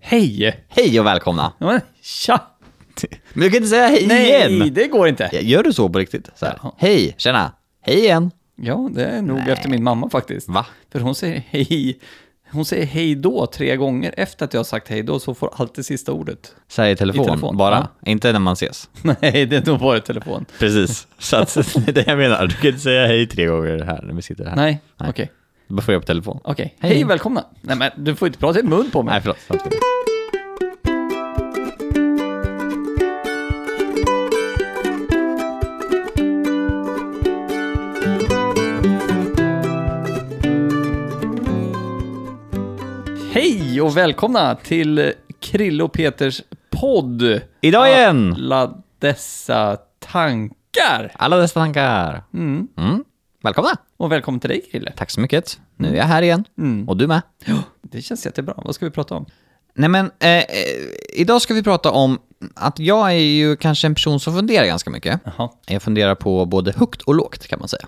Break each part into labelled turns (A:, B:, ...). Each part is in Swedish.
A: Hej!
B: Hej och välkomna.
A: Ja, men, Tja!
B: Men du kan inte säga hej
A: Nej,
B: igen.
A: det går inte.
B: Gör du så på riktigt? Så här.
A: Ja.
B: Hej, tjena. Hej igen.
A: Ja, det är nog efter min mamma faktiskt.
B: Va?
A: För hon säger hej. Hon säger hej då tre gånger efter att jag har sagt hej då så får alltid sista ordet.
B: Så här i telefon,
A: I telefon,
B: bara. Inte när man ses.
A: Nej, det är nog bara telefon.
B: Precis. Så att, det är det jag menar. Du kan inte säga hej tre gånger här när vi sitter här.
A: Nej,
B: Nej.
A: okej. okej.
B: Då får jag på telefon.
A: Hej.
B: Hej.
A: välkomna. Nej, men du får inte prata i mun på mig.
B: Nej, förlåt.
A: Hej och välkomna till Krille och Peters podd.
B: Idag igen!
A: Alla dessa tankar.
B: Alla dessa tankar.
A: Mm.
B: Mm. Välkomna!
A: Och välkommen till dig Krille.
B: Tack så mycket. Nu är jag här igen.
A: Mm.
B: Och du med.
A: Det känns jättebra. Vad ska vi prata om?
B: Nej men, eh, eh, idag ska vi prata om att jag är ju kanske en person som funderar ganska mycket.
A: Jaha.
B: Jag funderar på både högt och lågt kan man säga.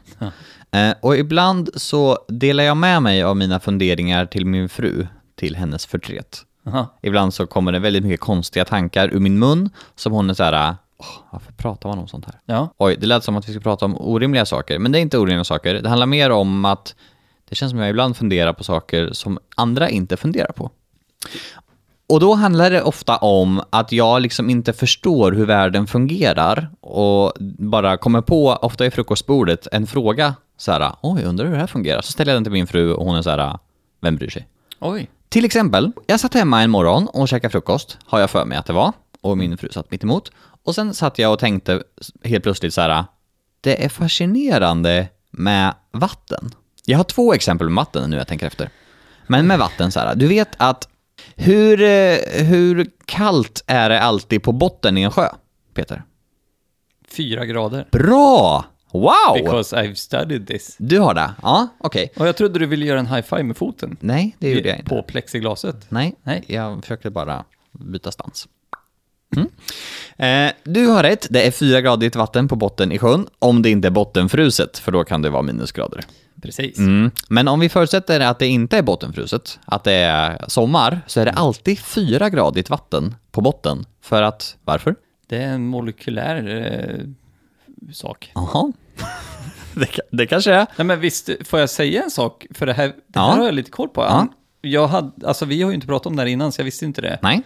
B: Eh, och ibland så delar jag med mig av mina funderingar till min fru, till hennes förtret.
A: Jaha.
B: Ibland så kommer det väldigt mycket konstiga tankar ur min mun som hon är så här, "Åh, varför pratar man om sånt här?
A: Ja.
B: Oj, det lät som att vi ska prata om orimliga saker, men det är inte orimliga saker. Det handlar mer om att det känns som att jag ibland funderar på saker som andra inte funderar på. Och då handlar det ofta om att jag liksom inte förstår hur världen fungerar och bara kommer på, ofta i frukostbordet, en fråga så här, oj, undrar hur det här fungerar? Så ställer jag den till min fru och hon är så här, vem bryr sig?
A: Oj.
B: Till exempel, jag satt hemma en morgon och käkade frukost, har jag för mig att det var, och min fru satt mitt emot. Och sen satt jag och tänkte helt plötsligt så här, det är fascinerande med vatten. Jag har två exempel med vatten nu jag tänker efter. Men med vatten så här, du vet att hur, eh, hur kallt är det alltid på botten i en sjö, Peter?
A: Fyra grader.
B: Bra! Wow!
A: Because I've studied this.
B: Du har det? Ja, okej.
A: Och jag trodde du ville göra en high-five med foten.
B: Nej, det gjorde jag inte.
A: På plexiglaset.
B: Nej,
A: Nej.
B: jag försökte bara byta stans. Mm. Eh, du har rätt, det är fyragradigt vatten på botten i sjön, om det inte är bottenfruset, för då kan det vara minusgrader.
A: Precis.
B: Mm. Men om vi förutsätter att det inte är bottenfruset, att det är sommar, så är det alltid fyragradigt vatten på botten. För att, varför?
A: Det är en molekylär eh, sak.
B: Jaha. det, ka- det kanske är.
A: Nej men visst, får jag säga en sak? För det här, det här
B: Ja.
A: har jag lite koll på. Jag hade, alltså vi har ju inte pratat om det här innan, så jag visste inte det.
B: Nej.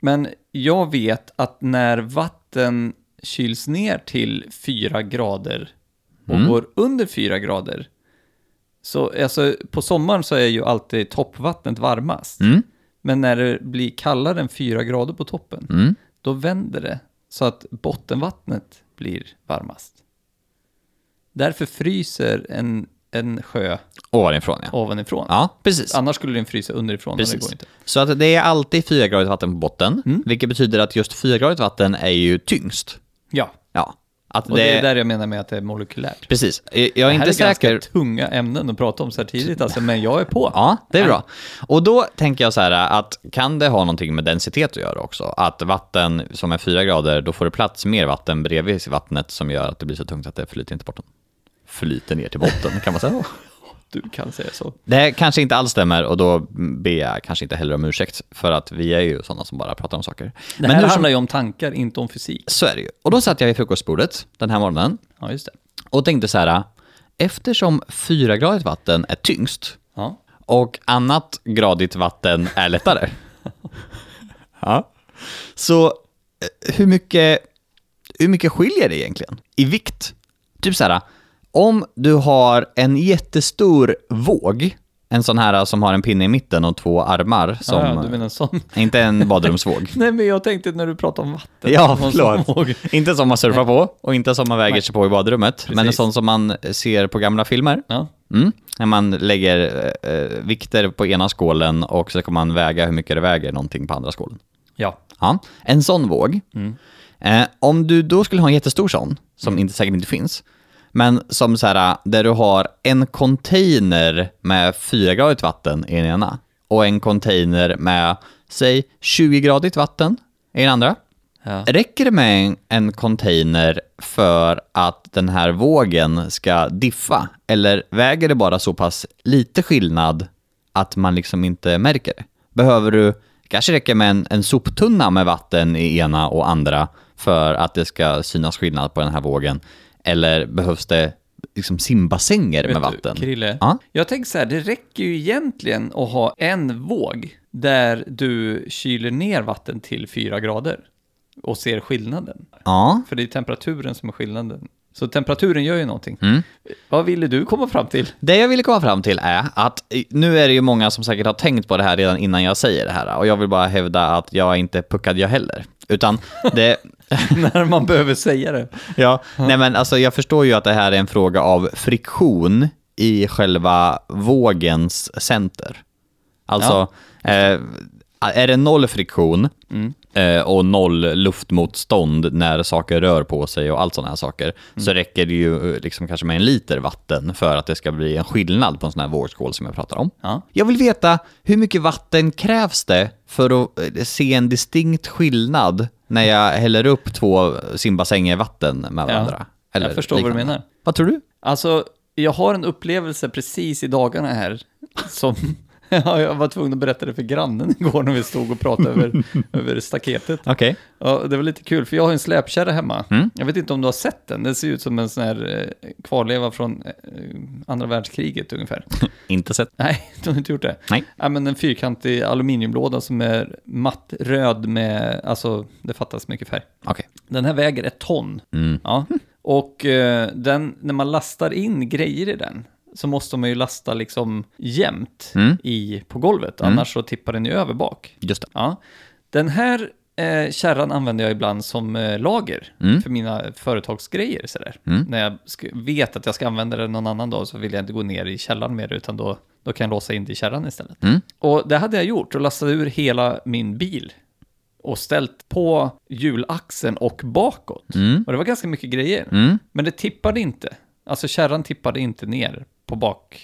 A: Men jag vet att när vatten kyls ner till 4 grader och
B: Mm.
A: går under 4 grader, så alltså, på sommaren så är ju alltid toppvattnet varmast.
B: Mm.
A: Men när det blir kallare än 4 grader på toppen,
B: Mm.
A: då vänder det så att bottenvattnet blir varmast. Därför fryser en, en sjö
B: Ovanifrån ja.
A: ovanifrån.
B: Ja, precis.
A: Annars skulle den frysa underifrån och det
B: Precis.
A: går inte.
B: Så att det är alltid fyragradigt vatten på botten,
A: Mm.
B: vilket betyder att just fyragradigt vatten är ju tyngst.
A: Ja,
B: Ja. Att det,
A: och det är där jag menar med att det är molekylärt.
B: Precis. Jag jag är
A: här
B: inte
A: är
B: säker.
A: ganska tunga ämnen att prata om så här tidigt alltså, men jag är på.
B: Ja, det är
A: Nej.
B: bra. Och då tänker jag så här att kan det ha någonting med densitet att göra också? Att vatten som är fyra grader, då får det plats mer vatten bredvid vattnet som gör att det blir så tungt att det flyter inte bort. Flyter ner till botten, kan man säga.
A: Du kan säga så.
B: Det kanske inte alls stämmer och då ber jag kanske inte heller om ursäkt för att vi är ju sådana som bara pratar om saker.
A: Det
B: Men
A: här
B: hur som,
A: handlar ju om tankar, inte om fysik.
B: så är det ju. Och då satt jag vid frukostbordet den här morgonen
A: Ja, just det.
B: och tänkte så här, eftersom fyragradigt vatten är tyngst,
A: Ja.
B: och annat gradigt vatten är lättare. ja. Så eh, hur mycket, hur mycket skiljer det egentligen i vikt? Typ så här, om du har en jättestor våg, en sån här som har en pinne i mitten och två armar som... eh,
A: ja, ja, du menar sån.
B: Inte en badrumsvåg.
A: Nej, men jag tänkte när du pratade om vatten.
B: Ja,
A: Någon som
B: förlåt.
A: våg.
B: Inte som man surfar på och inte som man väger sig på i badrummet, men en
A: Precis.
B: sån som man ser på gamla filmer.
A: Ja.
B: Mm. När man lägger eh, eh, vikter på ena skålen och så kan man väga hur mycket det väger någonting på andra skålen.
A: ja.
B: Ja, en sån våg.
A: Mm.
B: Eh, om du då skulle ha en jättestor sån, som inte, säkert inte finns, men som så här, där du har en container med 4-gradigt vatten i den ena och en container med, säg 20-gradigt vatten i den andra.
A: Ja.
B: Räcker det med en, en container för att den här vågen ska diffa? Eller väger det bara så pass lite skillnad att man liksom inte märker det? Behöver du kanske räcker med en, en soptunna med vatten i ena och andra för att det ska synas skillnad på den här vågen. Eller behövs det liksom simbassänger med
A: Vet du,
B: vatten?
A: Krille,
B: Ja?
A: jag tänker så här, det räcker ju egentligen att ha en våg där du kyler ner vatten till fyra grader och ser skillnaden.
B: Ja.
A: För det är temperaturen som är skillnaden. Så temperaturen gör ju någonting.
B: Mm.
A: Vad ville du komma fram till?
B: Det jag ville komma fram till är att nu är det ju många som säkert har tänkt på det här redan innan jag säger det här och jag vill bara hävda att jag är inte puckad jag heller. Utan det,
A: När man behöver säga det.
B: ja, nej men alltså jag förstår ju att det här är en fråga av friktion i själva vågens center. Alltså, eh, är det noll friktion eh, och noll luftmotstånd när saker rör på sig och allt sådana här saker, så räcker det ju eh, liksom kanske med en liter vatten för att det ska bli en skillnad på en sån här vågskål som jag pratar om.
A: Ja.
B: Jag vill veta, hur mycket vatten krävs det för att eh, se en distinkt skillnad när jag häller upp två simbassänger vatten med varandra?
A: jag förstår vad du
B: liknande?
A: menar.
B: Vad tror du?
A: Alltså, jag har en upplevelse precis i dagarna här som... Ja, jag var tvungen att berätta det för grannen igår när vi stod och pratade över, över staketet.
B: Okej.
A: Ja, det var lite kul, för jag har ju en släpkärra hemma. Jag vet inte om du har sett den, den ser ut som en sån här eh, kvarleva från eh, andra världskriget ungefär.
B: Inte sett.
A: Nej, du har inte gjort det.
B: Nej.
A: Ja, men en fyrkantig aluminiumlåda som är matt röd med, alltså det fattas mycket färg.
B: Okej.
A: Den här väger ett ton.
B: Mm.
A: Ja. Och eh, den, när man lastar in grejer i den så måste man ju lasta liksom jämnt
B: Mm.
A: i, på golvet, annars så tippar den ju över bak.
B: Just det.
A: Ja. Den här eh, kärran använder jag ibland som eh, lager
B: Mm.
A: för mina företagsgrejer. Sådär.
B: Mm.
A: När jag sk- vet att jag ska använda den någon annan dag så vill jag inte gå ner i källaren mer utan då, då kan jag låsa in det i källaren istället.
B: Mm.
A: Och det hade jag gjort och lastade ur hela min bil och ställt på hjulaxeln och bakåt.
B: Mm.
A: Och det var ganska mycket grejer.
B: Mm.
A: Men det tippade inte. Alltså kärran tippade inte ner på bak,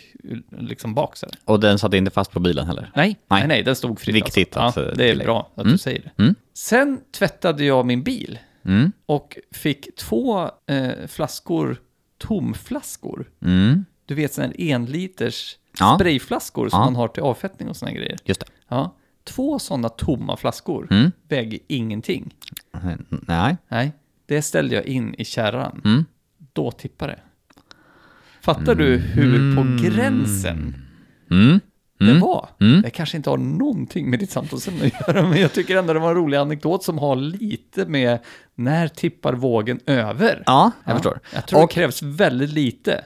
A: liksom bak sådär.
B: Och den satt inte fast på bilen heller?
A: Nej,
B: Nej.
A: nej, nej, den stod fritt.
B: Viktigt
A: alltså.
B: att, eh,
A: ja, Det är
B: tillägga.
A: bra att du säger det.
B: Mm.
A: Sen tvättade jag min bil
B: Mm.
A: och fick två eh, flaskor tomflaskor.
B: Mm.
A: Du vet sådana enliters
B: Ja.
A: sprayflaskor som
B: Ja.
A: man har till avfettning och sådana grejer.
B: Just det.
A: Ja. Två sådana tomma flaskor
B: Mm.
A: väger ingenting.
B: Mm, Nej.
A: Nej, det ställde jag in i kärran.
B: Mm.
A: Då tippade det. Fattar du hur på gränsen
B: Mm.
A: det var.
B: Mm.
A: Det kanske inte har någonting med ditt samtalsämne att göra, men jag tycker ändå det var en rolig anekdot som har lite med när tippar vågen över?
B: Ja, jag förstår.
A: Jag tror
B: Och-
A: det krävs väldigt lite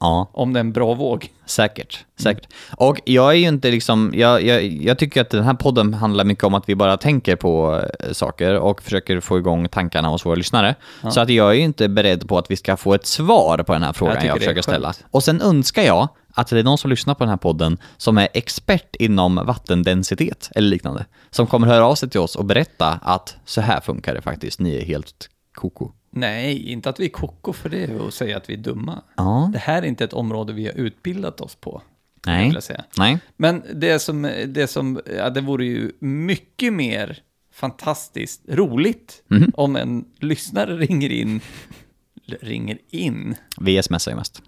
B: Ja,
A: om det är en bra våg. Mm.
B: säkert. säkert. Och jag är ju inte liksom, jag, jag, jag tycker att den här podden handlar mycket om att vi bara tänker på eh, saker och försöker få igång tankarna hos våra lyssnare. Så att jag är ju inte beredd på att vi ska få ett svar på den här frågan
A: Jag
B: jag,
A: tycker det är
B: försöker ställa.
A: skönt.
B: Och sen önskar jag att det är någon som lyssnar på den här podden som är expert inom vattendensitet eller liknande. Som kommer höra av sig till oss och berätta att så här funkar det faktiskt, ni är helt koko.
A: Nej, inte att vi är koko för det och säga att vi är dumma.
B: Ja,
A: Det här är inte ett område vi har utbildat oss på. skulle
B: Nej.
A: Jag vilja säga.
B: nej.
A: Men det som, det som, ja, det vore ju mycket mer fantastiskt roligt
B: Mhm.
A: om en lyssnare ringer in, ringer in,
B: Vi smsar ju mest.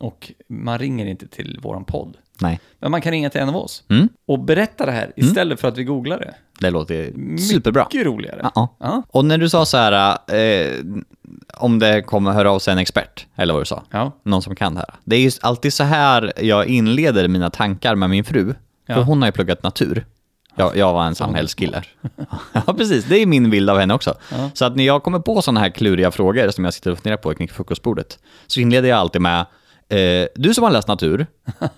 A: och man ringer inte till våran podd.
B: Nej.
A: Men man kan ringa till en av oss
B: Mm.
A: och berätta det här istället för att vi googlar det.
B: Det låter superbra.
A: Mycket roligare.
B: Ja.
A: Ja.
B: Och när du sa så här, eh, om det kommer höra av sig en expert, eller vad du sa,
A: Ja.
B: någon som kan det här. Det är ju alltid så här jag inleder mina tankar med min fru, för
A: Ja.
B: hon har ju pluggat natur. Jag, jag var en samhällskille. Ja, precis. Det är min bild av henne också.
A: Ja.
B: Så att när jag kommer på sådana här kluriga frågor som jag sitter och funderar på kring frukostbordet, så inleder jag alltid med eh, du som har läst natur,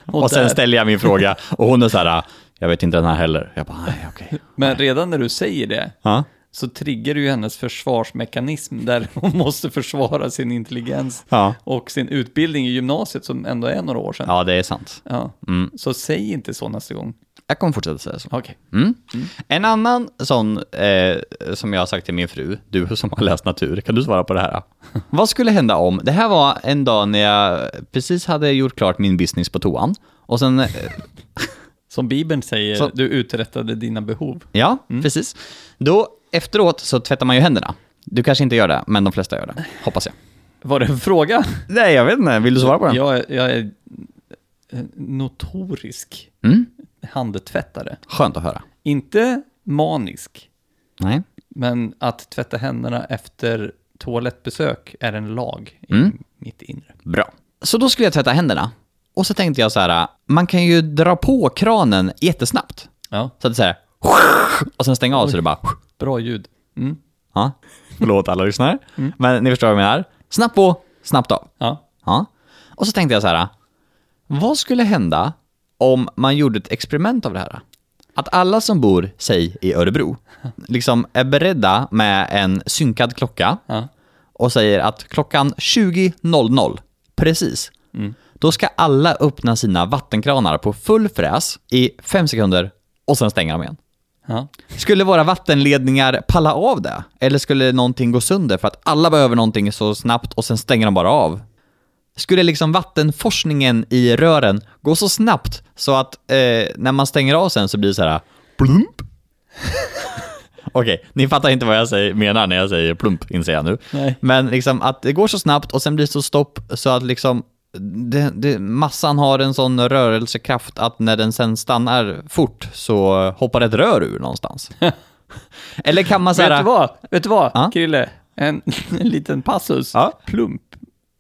B: och, sen
A: där.
B: ställer jag min fråga, och hon är så här, jag vet inte den här heller. Jag bara, nej, okej.
A: Men redan när du säger det
B: Ja.
A: så triggar du ju hennes försvarsmekanism där hon måste försvara sin intelligens
B: Ja.
A: och sin utbildning i gymnasiet som ändå är några år sedan.
B: ja, det är sant.
A: Ja.
B: Mm.
A: Så säg inte så nästa gång.
B: Jag kommer fortsätta säga så.
A: Okej.
B: Mm. En annan sån eh, som jag har sagt till min fru, du som har läst natur, kan du svara på det här? Vad skulle hända om, det här var en dag när jag precis hade gjort klart min business på toan och sen, eh,
A: Som Bibeln säger,
B: Så-
A: du uträttade dina behov.
B: ja precis, då efteråt så tvättar man ju händerna. Du kanske inte gör det, men de flesta gör det, hoppas jag.
A: Var det en fråga?
B: Nej, jag vet inte, vill du svara på den?
A: Jag, är- jag är eh, notorisk
B: Mm.
A: handtvättare.
B: Skönt att höra.
A: Inte manisk,
B: Nej.
A: men att tvätta händerna efter toalettbesök är en lag i
B: Mm.
A: mitt inre.
B: Bra. Så då skulle jag tvätta händerna. Och så tänkte jag så här, man kan ju dra på kranen jättesnabbt.
A: Ja,
B: Så att det så här, och sen stänga av så det bara...
A: bra ljud. Mm.
B: Ja. Mm. Förlåt alla lyssnare. Men ni förstår vad jag menar. Snabbt på, snabbt av.
A: Ja.
B: Ja. Och så tänkte jag så här, vad skulle hända om man gjorde ett experiment av det här? Att alla som bor, säg i Örebro, liksom är beredda med en synkad klocka
A: Ja.
B: och säger att klockan 20.00, precis, då ska alla öppna sina vattenkranar på full fräs i fem sekunder och sen stänga dem igen.
A: Ja.
B: Skulle våra vattenledningar palla av det? Eller skulle någonting gå sönder för att alla behöver någonting så snabbt och sen stänger de bara av? Skulle liksom vattenforskningen i rören gå så snabbt så att eh, när man stänger av sen så blir det så här plump? Okej, ni fattar inte vad jag säger, menar när jag säger plump, inser jag nu.
A: Nej.
B: Men liksom att det går så snabbt och sen blir det så stopp så att liksom det, det, massan har en sån rörelsekraft att när den sen stannar fort så hoppar ett rör ur någonstans. Eller kan man
A: Vet du
B: säga...
A: vad, Vet du vad
B: Ja.
A: Krille? En, en liten passus.
B: Ja.
A: Plump.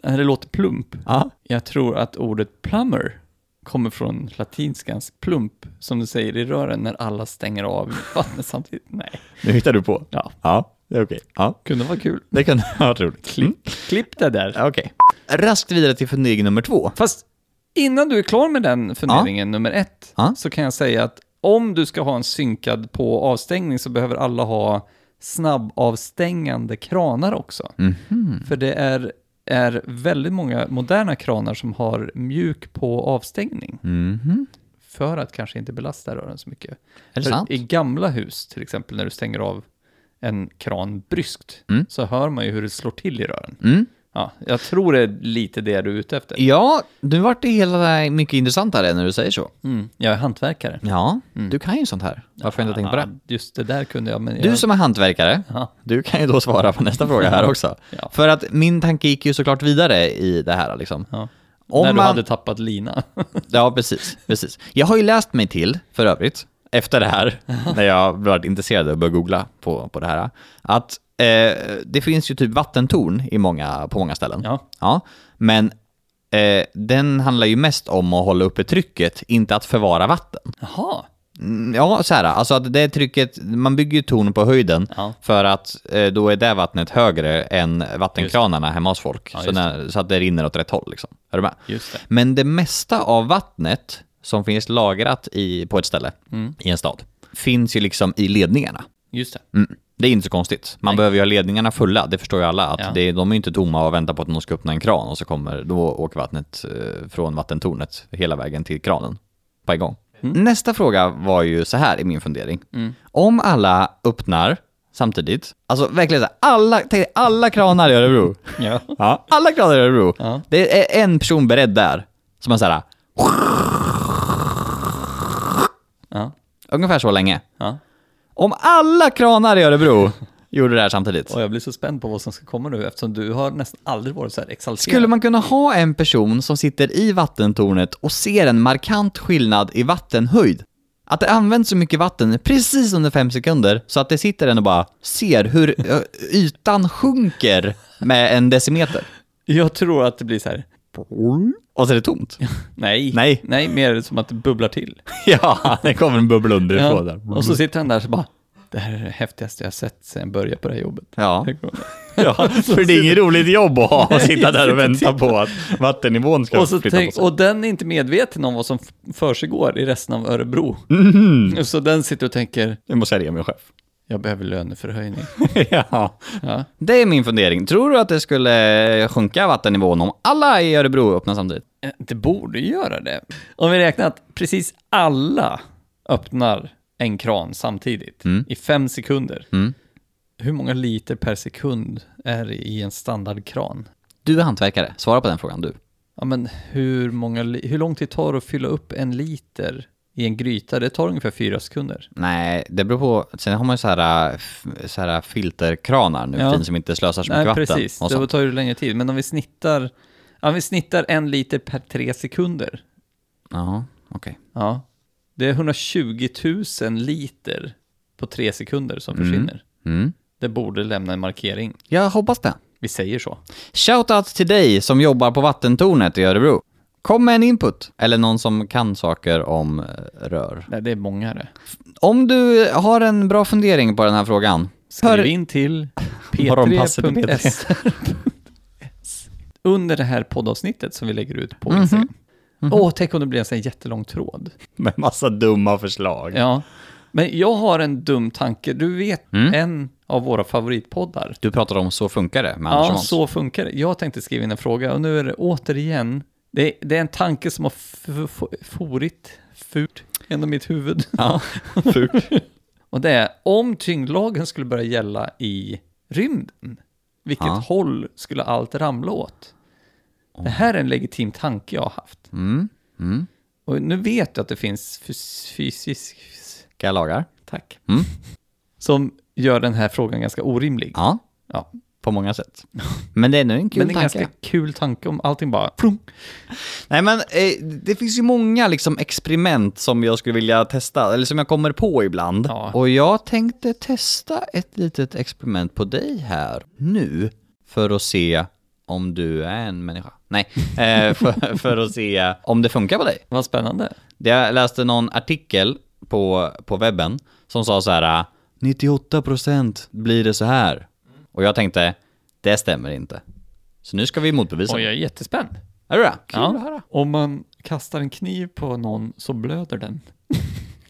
A: Det låter plump.
B: Ja,
A: Jag tror att ordet plumber kommer från latinskans plump, som du säger i rören när alla stänger av vattnet samtidigt. Nej,
B: nu hittar du på.
A: ja,
B: Ja, det är okej. Ja,
A: kunde vara kul.
B: det kan vara roligt. Mm.
A: Klipp det där.
B: Okej. Raskt vidare till fundering nummer två.
A: Fast innan du är klar med den funderingen, nummer ett,
B: Ja.
A: så kan jag säga att om du ska ha en synkad på och avstängning så behöver alla ha snabbavstängande kranar också. För det är, är väldigt många moderna kranar som har mjuk på och avstängning. Mhm. För att kanske inte belasta rören så mycket.
B: Är det
A: För
B: sant?
A: I gamla hus, till exempel, när du stänger av en kran bryskt,
B: Mm.
A: så hör man ju hur det slår till i rören. Ja, jag tror det är lite det du är ute efter.
B: Ja, nu vart det hela mycket intressantare när du säger så.
A: Mm. Jag är hantverkare.
B: Ja, du kan ju sånt här. Varför har jag inte tänkt på det?
A: Ja, just det där kunde jag, men jag...
B: Du som är hantverkare,
A: Ja.
B: du kan ju då svara på nästa fråga här också.
A: Ja.
B: För att min tanke gick ju såklart vidare i det här liksom.
A: Ja.
B: Om
A: när du
B: man-
A: hade tappat lina.
B: Ja, precis, precis. Jag har ju läst mig till, för övrigt, efter det här, när jag blev intresserad och började googla på, på det här, att eh, det finns ju typ vattentorn i många, på många ställen.
A: ja.
B: Ja, men eh, den handlar ju mest om att hålla uppe trycket, inte att förvara vatten.
A: Jaha.
B: Mm, Ja, så här, alltså att det trycket, man bygger ju torn på höjden
A: Ja.
B: för att eh, då är det vattnet högre än vattenkranarna hemma hos folk.
A: Ja,
B: så,
A: just
B: när, så att det rinner åt rätt håll liksom. Är du med?
A: Just det.
B: Men det mesta av vattnet som finns lagrat i, på ett ställe
A: Mm.
B: i en stad finns ju liksom i ledningarna.
A: Just det.
B: Mm. Det är inte så konstigt. Man behöver ju ha ledningarna fulla, det förstår ju alla. Att
A: Ja.
B: det, de är ju inte tomma och väntar på att någon ska öppna en kran och så kommer, då åker vattnet eh, från vattentornet hela vägen till kranen på en gång. Nästa fråga var ju så här i min fundering. Om alla öppnar samtidigt, alltså verkligen så här, alla, tänk dig, alla kranar i Örebro.
A: Ja.
B: Ja. Alla kranar i Örebro.
A: Ja.
B: Det är en person beredd där som har så här,
A: Ja.
B: ungefär så länge.
A: ja.
B: Om alla kranar i Örebro gjorde det här samtidigt.
A: Och jag blir så spänd på vad som ska komma nu eftersom du har nästan aldrig varit så här exalterad.
B: Skulle man kunna ha en person som sitter i vattentornet och ser en markant skillnad i vattenhöjd? Att det används så mycket vatten precis under fem sekunder så att det sitter en och bara ser hur ö, ytan sjunker med en decimeter.
A: Jag tror att det blir så här.
B: Och så är det tomt.
A: Nej.
B: Nej.
A: Nej, mer som att det bubblar till.
B: Ja, det kommer en bubbla
A: Ja.
B: underifrån Mm.
A: Och så sitter han där så bara. Det här är det häftigaste jag har sett sedan jag började på det här jobbet.
B: Ja. ja, för det är inget roligt jobb att ha och sitta där och vänta på att vattennivån ska
A: Och, så
B: flytta
A: tänk,
B: på sig.
A: och den är inte medveten om vad som f- försiggår i resten av Örebro.
B: Mhm.
A: Så den sitter och tänker,
B: Jag måste sälja min chef.
A: jag behöver löneförhöjning.
B: ja.
A: Ja.
B: Det är min fundering. Tror du att det skulle sjunka vattennivån om alla i Örebro öppnar samtidigt?
A: Eh, Det borde ju göra det. Om vi räknar att precis alla öppnar en kran samtidigt
B: Mm.
A: i fem sekunder. Hur många liter per sekund är det i en standardkran?
B: Du är hantverkare, svara på den frågan du.
A: Ja, men hur, många li- hur lång tid tar det att fylla upp en liter i en gryta? Det tar ungefär fyra sekunder.
B: Nej, det beror på. Sen har man ju så här, äh, f- så här filterkranar nu för
A: Ja.
B: tiden som inte slösar så mycket
A: Nej,
B: vatten.
A: precis.
B: och
A: Det
B: sånt.
A: tar ju längre tid. Men om vi snittar, om vi snittar en liter per tre sekunder.
B: Jaha, okej.
A: Ja. Det är 120 000 liter på tre sekunder som försvinner.
B: Mm.
A: Det borde lämna en markering.
B: Jag hoppas det.
A: Vi säger så.
B: Shoutout till dig som jobbar på vattentornet i Örebro. Kom med en input, eller någon som kan saker om eh, rör.
A: Nej, det är många det.
B: Om du har en bra fundering på den här frågan,
A: Skriv in till
B: Morgonpasset på
A: p3.s. Under det här poddavsnittet som vi lägger ut
B: Mhm.
A: på Instagram. Åh, tänk om det blir en sån här jättelång tråd.
B: med massa dumma förslag.
A: Ja. Men jag har en dum tanke. Du vet
B: Mm.
A: en av våra favoritpoddar.
B: Du pratar om Så funkar det med Anders
A: Ja,
B: Måns.
A: så funkar det. Jag tänkte skriva in en fråga och nu är det återigen, det, det är en tanke som har f- f- forit fult genom mitt huvud.
B: Ja, fult.
A: Och det är, om tyngdlagen skulle börja gälla i rymden, vilket
B: Ja.
A: håll skulle allt ramla åt? Det här är en legitim tanke jag har haft.
B: Mm, mm.
A: Och nu vet jag att det finns fys- fysisk...
B: Vilka lagar?
A: Tack.
B: Mm.
A: Som gör den här frågan ganska orimlig.
B: Ja,
A: Ja.
B: på många sätt. Men det är nog en kul
A: Men det är en
B: tanke.
A: ganska kul tanke om allting bara... Plum.
B: Nej men eh, det finns ju många liksom experiment som jag skulle vilja testa, eller som jag kommer på ibland.
A: Ja.
B: Och jag tänkte testa ett litet experiment på dig här nu, för att se om du är en människa. Nej, eh, för, för att se om det funkar på dig.
A: Vad spännande.
B: Det- Jag läste någon artikel på, på webben som sa så här, 98% blir det så här. Och jag tänkte, det stämmer inte. Så nu ska vi motbevisa.
A: Oj,
B: det.
A: jag är jättespänd.
B: Är du det? Kul
A: Ja.
B: att höra.
A: Om man kastar en kniv på någon så blöder den.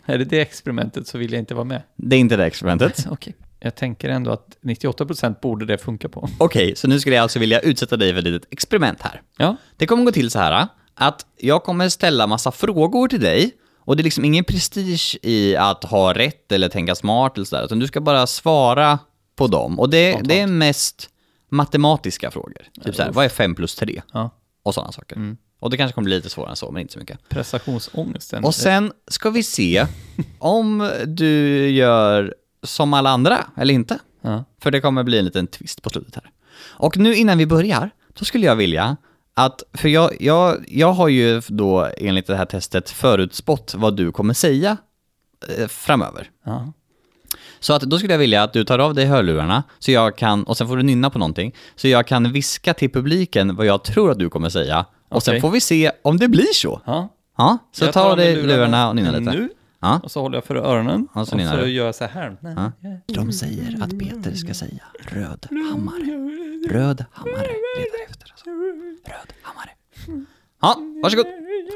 A: är det det experimentet så vill jag inte vara med.
B: Det är inte det experimentet.
A: Okej. Jag tänker ändå att 98% borde det funka på.
B: Okej, så nu skulle jag alltså vilja utsätta dig för ett litet experiment här.
A: Ja.
B: Det kommer gå till så här äh, att jag kommer ställa massa frågor till dig och det är liksom ingen prestige i att ha rätt eller tänka smart eller sådär, utan du ska bara svara på dem. Och det, det är mest matematiska frågor. Typ så här, vad är 5 plus 3?
A: ja.
B: Och sådana saker. Och det kanske kommer bli lite svårare än så, men inte så
A: Mm.
B: mycket.
A: Prestationsångesten.
B: Och sen ska vi se om du gör som alla andra eller inte.
A: ja.
B: För det kommer bli en liten twist på slutet här. Och nu innan vi börjar, då skulle jag vilja att, för jag, jag, jag har ju då enligt det här testet förutspått vad du kommer säga eh, framöver.
A: Ja.
B: Så att då skulle jag vilja att du tar av dig hörlurarna, så jag kan, och sen får du nynna på någonting, så jag kan viska till publiken vad jag tror att du kommer säga. Och sen
A: Okej.
B: får vi se om det blir så.
A: ja.
B: Ja, så
A: Jag
B: ta
A: tar
B: av dig
A: med lurarna
B: lurarna och nynna lite.
A: nu.
B: Ja.
A: Och så håller jag för öronen.
B: Ja,
A: Och
B: så
A: så,
B: nynnar du.
A: gör jag så här.
B: Ja. De säger att Peter ska säga röd hammare. Röd hammare letar efter. Alltså. Röd hammare. Ja, varsågod.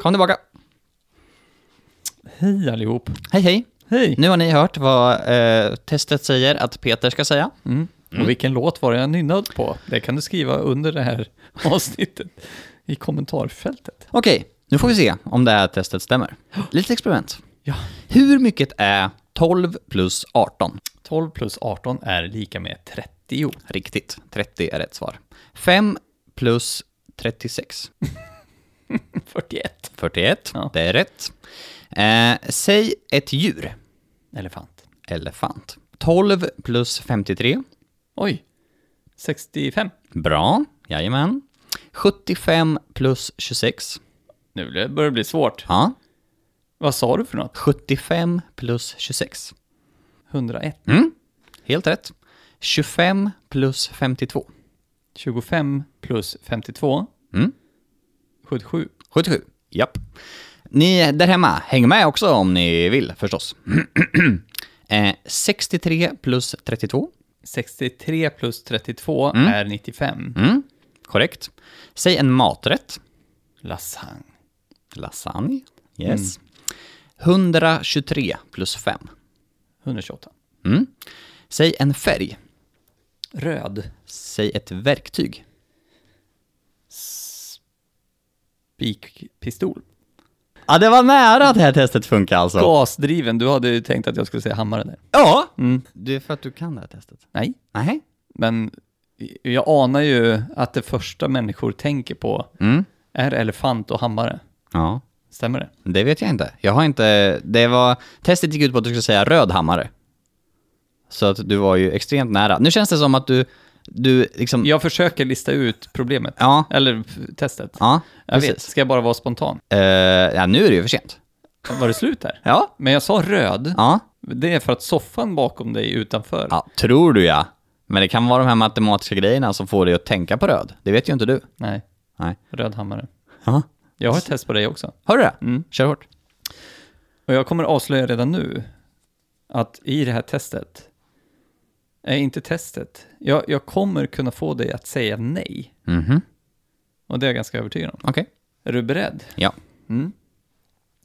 B: Kom tillbaka.
A: Hej allihop.
B: Hej hej.
A: Hej.
B: Nu har ni hört vad eh, testet säger att Peter ska säga.
A: Mm. Och vilken låt var det jag nynnade på? Det kan du skriva under det här avsnittet i kommentarfältet.
B: Okej, nu får vi se om det här testet stämmer. Lite experiment.
A: Ja.
B: Hur mycket är 12 plus 18?
A: 12 plus 18 är lika med 30.
B: Riktigt. 30 är rätt svar. 5 plus 36.
A: 41.
B: 41,
A: Ja.
B: det är rätt. Eh, säg ett djur.
A: Elefant.
B: Elefant. 12 plus 53.
A: Oj. 65.
B: Bra, jajamän. 75 plus 26.
A: Nu blir- börjar det bli svårt.
B: Ja,
A: Vad sa du för något?
B: 75 plus 26.
A: 101.
B: Mm, helt rätt. 25 plus 52.
A: 25 plus 52.
B: Mm.
A: 77.
B: 77. Japp. Ni där hemma, häng med också om ni vill förstås. eh, 63 plus 32.
A: 63 plus 32 är 95.
B: Mm, korrekt. Säg en maträtt.
A: Lasagne.
B: Lasagne. Yes. 123 plus 5.
A: 128.
B: Mm. Säg en färg.
A: Röd.
B: Säg ett verktyg.
A: Spikpistol.
B: Ja, det var nära att det här testet funkar alltså.
A: Gasdriven. Du hade ju tänkt att jag skulle säga hammare där.
B: Ja!
A: Mm.
B: Det är för att du kan det här testet.
A: Nej,
B: Nej.
A: men jag anar ju att det första människor tänker på
B: Mm.
A: är elefant och hammare.
B: Ja.
A: Stämmer det?
B: Det vet jag inte. Jag har inte... Det var... Testet gick ut på att du skulle säga röd hammare. Så att du var ju extremt nära. Nu känns det som att du... Du liksom...
A: Jag försöker lista ut problemet.
B: Ja.
A: Eller f- testet.
B: Ja,
A: jag
B: precis.
A: vet, ska jag bara vara spontan?
B: Eh, ja, nu är det ju för sent.
A: Var det slut där?
B: Ja.
A: Men jag sa röd.
B: Ja.
A: Det är för att soffan bakom dig utanför.
B: ja, tror du ja. Men det kan vara de här matematiska grejerna som får dig att tänka på röd. Det vet ju inte du.
A: Nej,
B: Nej.
A: röd hammare.
B: Ja.
A: Jag har ett test på dig också.
B: Har du det?
A: Mm.
B: Kör hårt.
A: Och jag kommer avslöja redan nu att i det här testet, är inte testet, jag, jag kommer kunna få dig att säga nej.
B: Mhm.
A: Och det är jag ganska övertygad om.
B: Okej.
A: Är du beredd?
B: Ja.
A: Mm.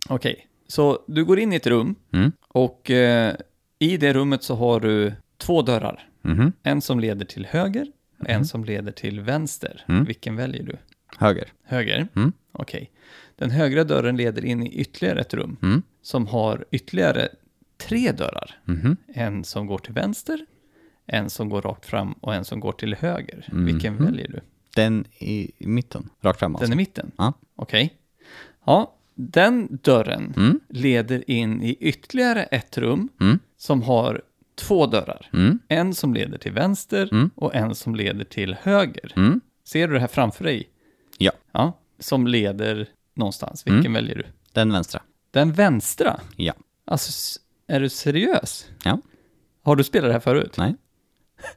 A: Okej, så du går in i ett rum
B: Mm.
A: och eh, i det rummet så har du två dörrar.
B: Mhm.
A: En som leder till höger och
B: Mm.
A: en som leder till vänster. Vilken väljer du?
B: Höger.
A: Höger?
B: Mm.
A: Okej. Den högra dörren leder in i ytterligare ett rum
B: Mm.
A: som har ytterligare tre dörrar.
B: Mhm.
A: En som går till vänster, en som går rakt fram och en som går till höger.
B: Mm-hmm.
A: Vilken väljer du?
B: Den i mitten, rakt fram alltså.
A: Den i mitten?
B: Ja.
A: Okej. Ja, den dörren
B: Mm.
A: leder in i ytterligare ett rum
B: Mm.
A: som har två dörrar.
B: Mm.
A: En som leder till vänster och en som leder till höger.
B: Mm.
A: Ser du det här framför dig?
B: Ja,
A: Ja, som leder
B: Mm.
A: någonstans. Vilken väljer du?
B: den vänstra.
A: Den vänstra?
B: Ja.
A: Alltså, s- är du seriös?
B: Ja.
A: Har du spelat det här förut?
B: Nej.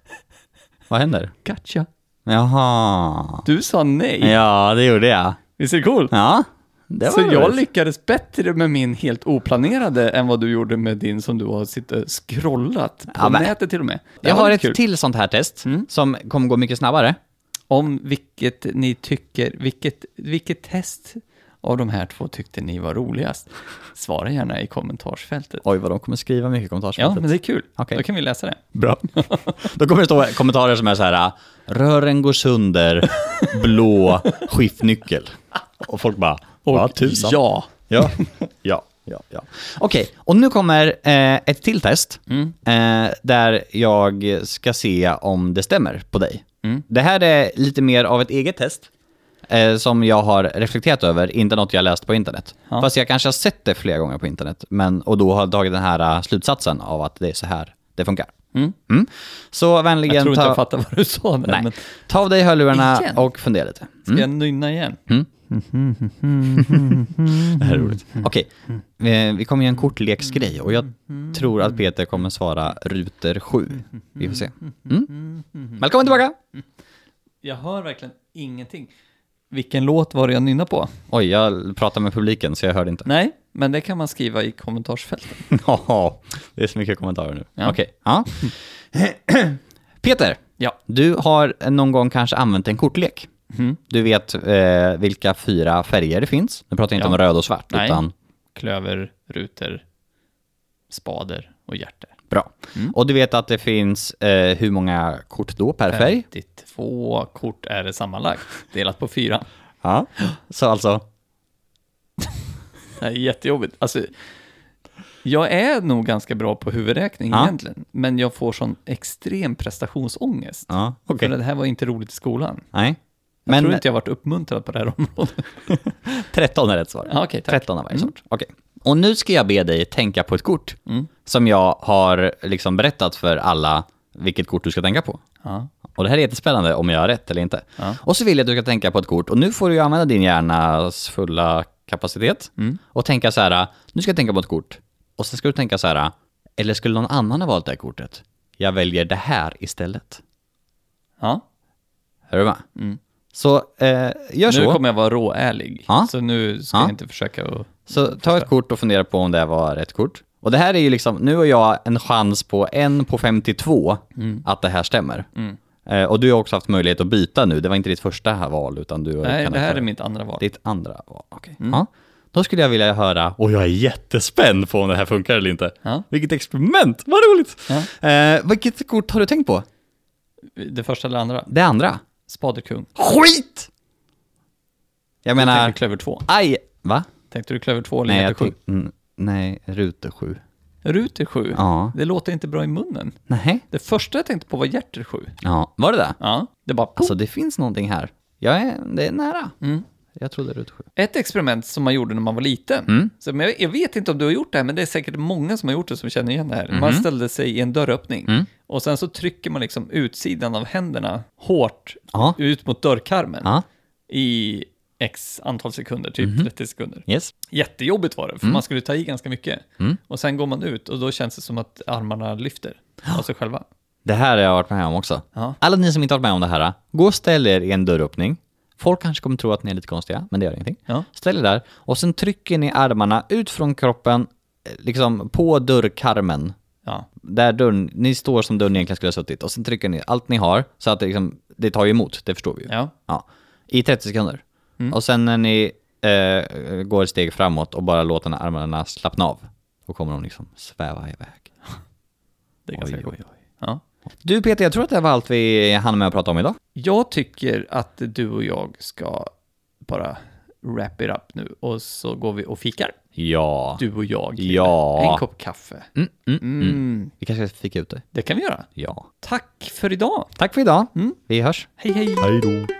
B: Vad händer?
A: Gotcha.
B: Jaha.
A: Du sa nej.
B: Ja, det gjorde jag.
A: Visst är det coolt?
B: Ja, det var
A: Så jag
B: roligt.
A: lyckades bättre med min helt oplanerade än vad du gjorde med din som du har suttit och scrollat på
B: Ja, men-
A: nätet till och med. Det
B: Jag
A: var
B: har ett
A: lite kul.
B: till sånt här test som kommer gå mycket snabbare.
A: Om vilket ni tycker, vilket, vilket test av de här två tyckte ni var roligast? Svara gärna i kommentarsfältet.
B: Oj, vad de kommer skriva mycket i
A: Ja,
B: kommentarsfältet.
A: men det är kul.
B: Okej.
A: Då kan vi läsa det.
B: Bra. Då kommer det stå kommentarer som är så här, rören går sönder, blå skiftnyckel. Och folk bara, ja tusan.
A: Ja.
B: Ja, ja, ja. ja. Okej, och nu kommer eh, ett till test
A: Mm.
B: eh, där jag ska se om det stämmer på dig.
A: Mm.
B: Det här är lite mer av ett eget test eh, som jag har reflekterat över, inte något jag läst på internet.
A: Ja.
B: Fast jag kanske har sett det flera gånger på internet men, och då har jag tagit den här eh, slutsatsen av att det är så här det funkar.
A: Mm.
B: Mm. Så vänligen
A: Jag tror inte
B: ta,
A: jag fattar vad du sa där,
B: nej. Mm.
A: men
B: ta av dig hörlurarna
A: Igen?
B: och fundera lite.
A: ska jag nynna igen?
B: Det här är roligt. Okej, eh, vi kommer göra en kortleksgrej och jag tror att Peter kommer svara ruter 7. Vi får se. Mm. Välkommen tillbaka!
A: Jag hör verkligen ingenting. Vilken låt var det jag nynnade på?
B: Oj, jag pratar med publiken så jag hörde inte.
A: Nej, men det kan man skriva i kommentarsfältet.
B: Ja, det är så mycket kommentarer nu.
A: Ja.
B: Okej. Ja. Peter,
A: Ja.
B: du har någon gång kanske använt en kortlek.
A: Mm.
B: Du vet eh, vilka fyra färger det finns. Nu pratar jag inte
A: Ja.
B: om röd och svart,
A: Nej.
B: utan
A: Klöver, ruter, spader och hjärter.
B: bra. Och du vet att det finns eh, hur många kort då per färg?
A: 52 kort är det sammanlagt, delat på fyra.
B: Ja. Så alltså?
A: Det här är jättejobbigt. Alltså, jag är nog ganska bra på huvudräkning
B: Ja.
A: egentligen, men jag får sån extrem prestationsångest.
B: Ja, okej.
A: För det här var inte roligt i skolan.
B: Nej.
A: Jag
B: Men
A: tror inte jag varit uppmuntrad på det här området.
B: 13 är rätt svar.
A: Ja, okej, tack. Mm.
B: 13 av varje sort. Okej. Och nu ska jag be dig tänka på ett kort som jag har liksom berättat för alla vilket kort du ska tänka på.
A: Ja.
B: Och det här är jättespännande om jag har rätt eller inte.
A: Ja.
B: Och så vill jag att du ska tänka på ett kort och nu får du ju använda din hjärnas fulla kapacitet
A: Mm.
B: och tänka så här, nu ska jag tänka på ett kort. Och sen ska du tänka så här, eller skulle någon annan ha valt det här kortet? Jag väljer det här istället.
A: Ja.
B: Är du med? Så eh, gör så.
A: Mm. Nu kommer jag vara råärlig,
B: Ja.
A: så nu ska
B: Ja.
A: jag inte försöka att...
B: Så ta ett kort och fundera på om det var rätt kort. Och det här är ju liksom, nu har jag en chans på en på 52
A: Mm.
B: att det här stämmer. Eh, och du har också haft möjlighet att byta nu, det var inte ditt första här val utan du
A: Nej,
B: kan
A: det här
B: ha-
A: är Mm. mitt andra val.
B: ditt andra val. Okej. Ja. Då skulle jag vilja höra, och jag är jättespänd på om det här funkar eller inte.
A: Ja.
B: Vilket experiment, vad roligt!
A: Ja.
B: Eh, vilket kort har du tänkt på?
A: Det första eller andra?
B: Det andra?
A: Spaderkung.
B: Skit! Jag
A: Tänkte du
B: menar,
A: klöver 2?
B: aj! Va?
A: Tänkte du klöver 2 eller
B: Nej,
A: hjärta
B: jag
A: 7?
B: tänk, mm, nej, ruter 7.
A: Ruter 7?
B: Ja.
A: Det låter inte bra i munnen.
B: Nej.
A: Det första jag tänkte på var hjärter 7.
B: Ja, var det det?
A: Ja, det bara...
B: Alltså det finns någonting här. Jag är, det är nära. Jag trodde det var
A: Ett experiment som man gjorde när man var liten.
B: Mm.
A: Så, men jag, jag vet inte om du har gjort det här, men det är säkert många som har gjort det som känner igen det här. Man
B: Mhm.
A: ställde sig i en dörröppning
B: Mm.
A: och sen så trycker man liksom utsidan av händerna hårt
B: Ja. Mhm.
A: ut mot dörrkarmen
B: Ja.
A: i x antal sekunder, typ 30 sekunder.
B: Yes.
A: Jättejobbigt var det,
B: Mm.
A: för man skulle ta i ganska mycket. Och sen går man ut och då känns det som att armarna lyfter av sig själva.
B: Det här har jag varit med om också.
A: Ja.
B: Alla ni som inte har varit med om det här, gå och ställ er i en dörröppning. Folk kanske kommer tro att ni är lite konstiga, men det gör ingenting.
A: Ja.
B: Ställ er där och sen trycker ni armarna ut från kroppen, eh, liksom på dörrkarmen.
A: Ja.
B: Där dörren, ni står som dörren egentligen skulle ha suttit och sen trycker ni allt ni har så att det, liksom, det tar ju emot, det förstår vi ju.
A: Ja.
B: Ja, i 30 sekunder.
A: Mm.
B: Och sen när ni eh, går ett steg framåt och bara låter armarna slappna av, då kommer de liksom sväva iväg.
A: Det är ganska
B: Oj,
A: coolt.
B: oj, oj.
A: Ja.
B: Du Peter, jag tror att det här var allt vi hann med att prata om idag.
A: Jag tycker att du och jag ska bara wrap it up nu och så går vi och fikar.
B: Ja.
A: Du och jag. Krille.
B: Ja.
A: En kopp kaffe. Mm.
B: Vi kanske ska fika ut det.
A: Det kan vi göra.
B: Ja.
A: Tack för idag. Mm.
B: Tack för idag. Vi hörs.
A: Hej hej.
B: Hej då.